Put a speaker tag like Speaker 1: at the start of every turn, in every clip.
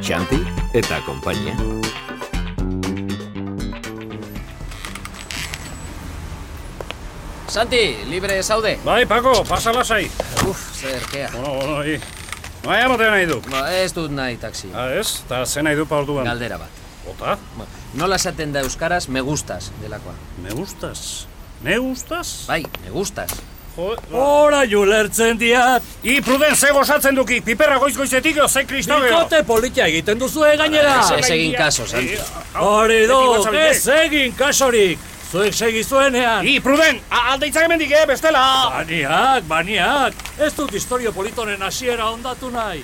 Speaker 1: Irrati eta konpainia.
Speaker 2: Santi, libre zaude.
Speaker 3: Bai, Pako, pasa lasai.
Speaker 2: Uf, zerkea.
Speaker 3: Bueno, bueno, i. Bai, amatea nahi du.
Speaker 2: Ba, ez dut nahi taksi.
Speaker 3: Ah, ez? Ta ze nahi du pa orduan?
Speaker 2: Galdera bat.
Speaker 3: Bota?
Speaker 2: Ba, Nola esaten da euskaraz me gustas delakoa.
Speaker 3: Me gustas. Me gustas?
Speaker 2: Bai, me gustas.
Speaker 3: Jo,
Speaker 4: Hora julertzen diat!
Speaker 3: I, pruden, ze gozatzen duki. Piperra goiz goizetik, jo, ze kristau gero.
Speaker 4: Bikote politia egiten duzue gainera!
Speaker 2: Ez- ez egin kaso, Santi.
Speaker 3: Eh, hau,
Speaker 4: Hori
Speaker 3: beti
Speaker 4: do,
Speaker 3: gotzabik, eh.
Speaker 4: ez egin kasorik! Zuek segizuenean!
Speaker 3: I, pruden, a- alde itzak emendik, eh, bestela.
Speaker 4: Baniak, baniak! Ez dut historio politonen hasiera ondatu nahi!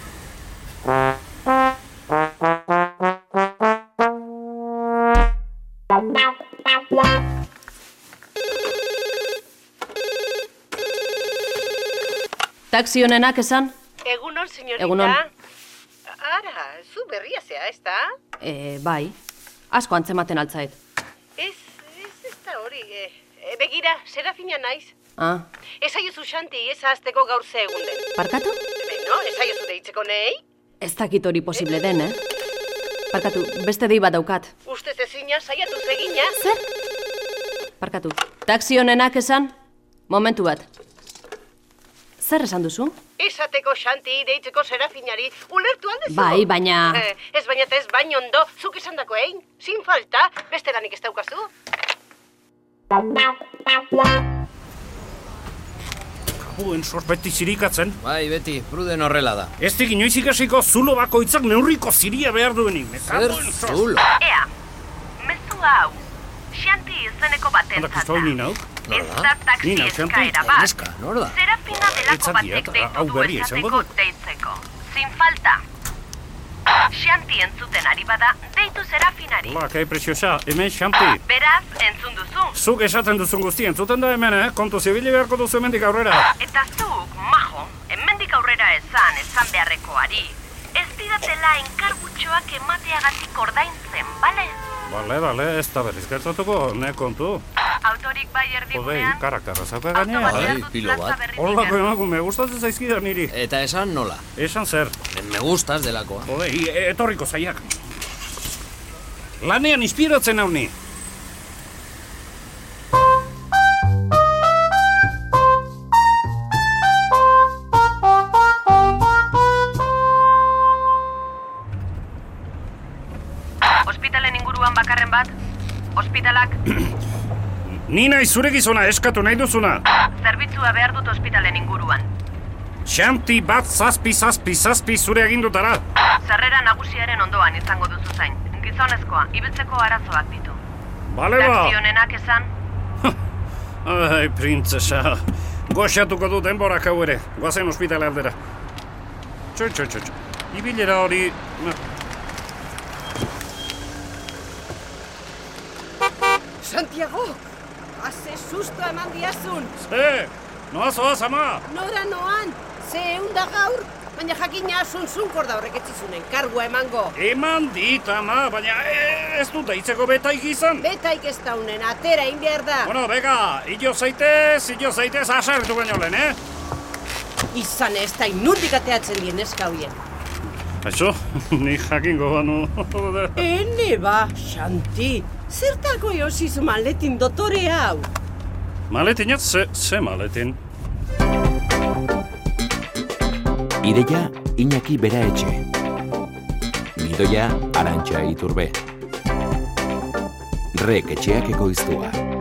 Speaker 5: Taxi honenak esan?
Speaker 6: Egunon, señorita.
Speaker 5: Egunon.
Speaker 6: Ara, zu berria zea, ez da?
Speaker 5: E, bai, asko antzematen altzait.
Speaker 6: Ez, ez, ez da hori. Eh, Eh, begira, serafina naiz.
Speaker 5: Ah,
Speaker 6: Ez aiozu xanti, ez ahazteko gaur ze egun den.
Speaker 5: parkatu?
Speaker 6: Beno, ez aiozu deitzeko nei?
Speaker 5: Ez dakit hori posible den, eh? Parkatu, beste dei bat daukat.
Speaker 6: Ustez ezina, saiatu zegina.
Speaker 5: Zer? Parkatu. Taxi honenak esan? Momentu bat. Zer esan duzu?
Speaker 6: Esateko xanti, deitzeko serafinari, ulertu aldezu?
Speaker 5: Bai, baina-
Speaker 6: Eh, ez baina eta ez baino ondo, zuk esan dako egin. Sin falta, beste lanik ez daukazu.
Speaker 3: Buen, sorbeti zirikatzen.
Speaker 2: Bai, beti, pruden horrela da.
Speaker 3: Ez dik inoiz ikasiko zulo bakoitzak neurriko ziria behar duenik. Me
Speaker 2: Zer
Speaker 3: cago en sos.
Speaker 2: zulo.
Speaker 6: Ea, mezu hau, xanti izeneko
Speaker 3: Anda,
Speaker 6: batentzat
Speaker 3: kristau ni nauk.
Speaker 2: Nola?
Speaker 6: taxi
Speaker 3: Ni nau, Xanti.
Speaker 6: eskaera
Speaker 2: Neska, nor da?
Speaker 6: Serafina delako
Speaker 3: Etzakia,
Speaker 6: batek
Speaker 3: eta
Speaker 6: deitu
Speaker 3: hau
Speaker 6: du
Speaker 3: berria izango
Speaker 6: esateko
Speaker 3: dut.
Speaker 6: deitzeko. Zin falta. Xanti entzuten ari bada, deitu Serafinari.
Speaker 3: Hola, kai preciosa, hemen xampi.
Speaker 6: Beraz, entzun duzu.
Speaker 3: Zuk esaten duzun guztien, zuten da hemen, eh? Kontu zibili beharko duzu hemendik aurrera.
Speaker 6: Eta zuk, majo, hemendik aurrera esan, esan beharrekoari. Ez didatela enkargutxoak emateagatik ordaintzen, bale?
Speaker 3: Bale, bale, ez da berriz gertatuko, ne kontu.
Speaker 6: Autorik bai
Speaker 3: Jode,
Speaker 6: erdigunean,
Speaker 3: karakarra zauka
Speaker 6: auto
Speaker 3: gainea.
Speaker 2: Bai,
Speaker 6: batean dut
Speaker 2: pilo
Speaker 6: plaza
Speaker 2: bat.
Speaker 3: Horlako
Speaker 6: berritik.
Speaker 3: emakume, gustatzen zaizkida niri.
Speaker 2: Eta esan nola.
Speaker 3: Esan zer,
Speaker 2: Me gustas delakoa.
Speaker 3: jode, i- e- etorriko zaiak. Lanean inspiratzen hau ni.
Speaker 6: Ospitalen inguruan bakarren bat, ospitalak
Speaker 3: Ni nahi zure gizona eskatu nahi duzuna.
Speaker 6: Zerbitzua behar dut ospitalen inguruan.
Speaker 3: Xanti bat zazpi zazpi zazpi zure agindutara.
Speaker 6: Zerrera nagusiaren ondoan izango duzu zain. Gizonezkoa, ibiltzeko arazoak ditu.
Speaker 3: Bale ba.
Speaker 6: Taxi honenak esan,
Speaker 3: Ai, printzesa. Goxatuko du denborak hau ere. Goazen ospitale aldera. Txo, txo, txo, txo. Ibilera hori... na,
Speaker 7: Santiago, haze susta eman diazun,
Speaker 3: Ze! eh, Noa zoaz, ama!
Speaker 7: nora noan, ze eunda gaur, baina jakina asun zunkor da horrek etzizunen, kargua emango.
Speaker 3: Eman dit, ama, baina e, ez dut daitzeko betaik izan.
Speaker 7: Betaik ez daunen, atera egin behar da.
Speaker 3: Bueno, beka, hilo zaitez, hilo zaitez, asartu baino lehen, eh?
Speaker 7: Izan ez da inundik ateatzen dien eska hoien.
Speaker 3: Aixo, ni jakingo banu.
Speaker 7: Ene ba, Xanti, zertako josizu maletin dotore hau?
Speaker 3: maletinat, ze, ze maletin?
Speaker 1: Ideia Iñaki Bera Etxe. Gidoia Arantxa Iturbe. Rek etxeak ekoiztua.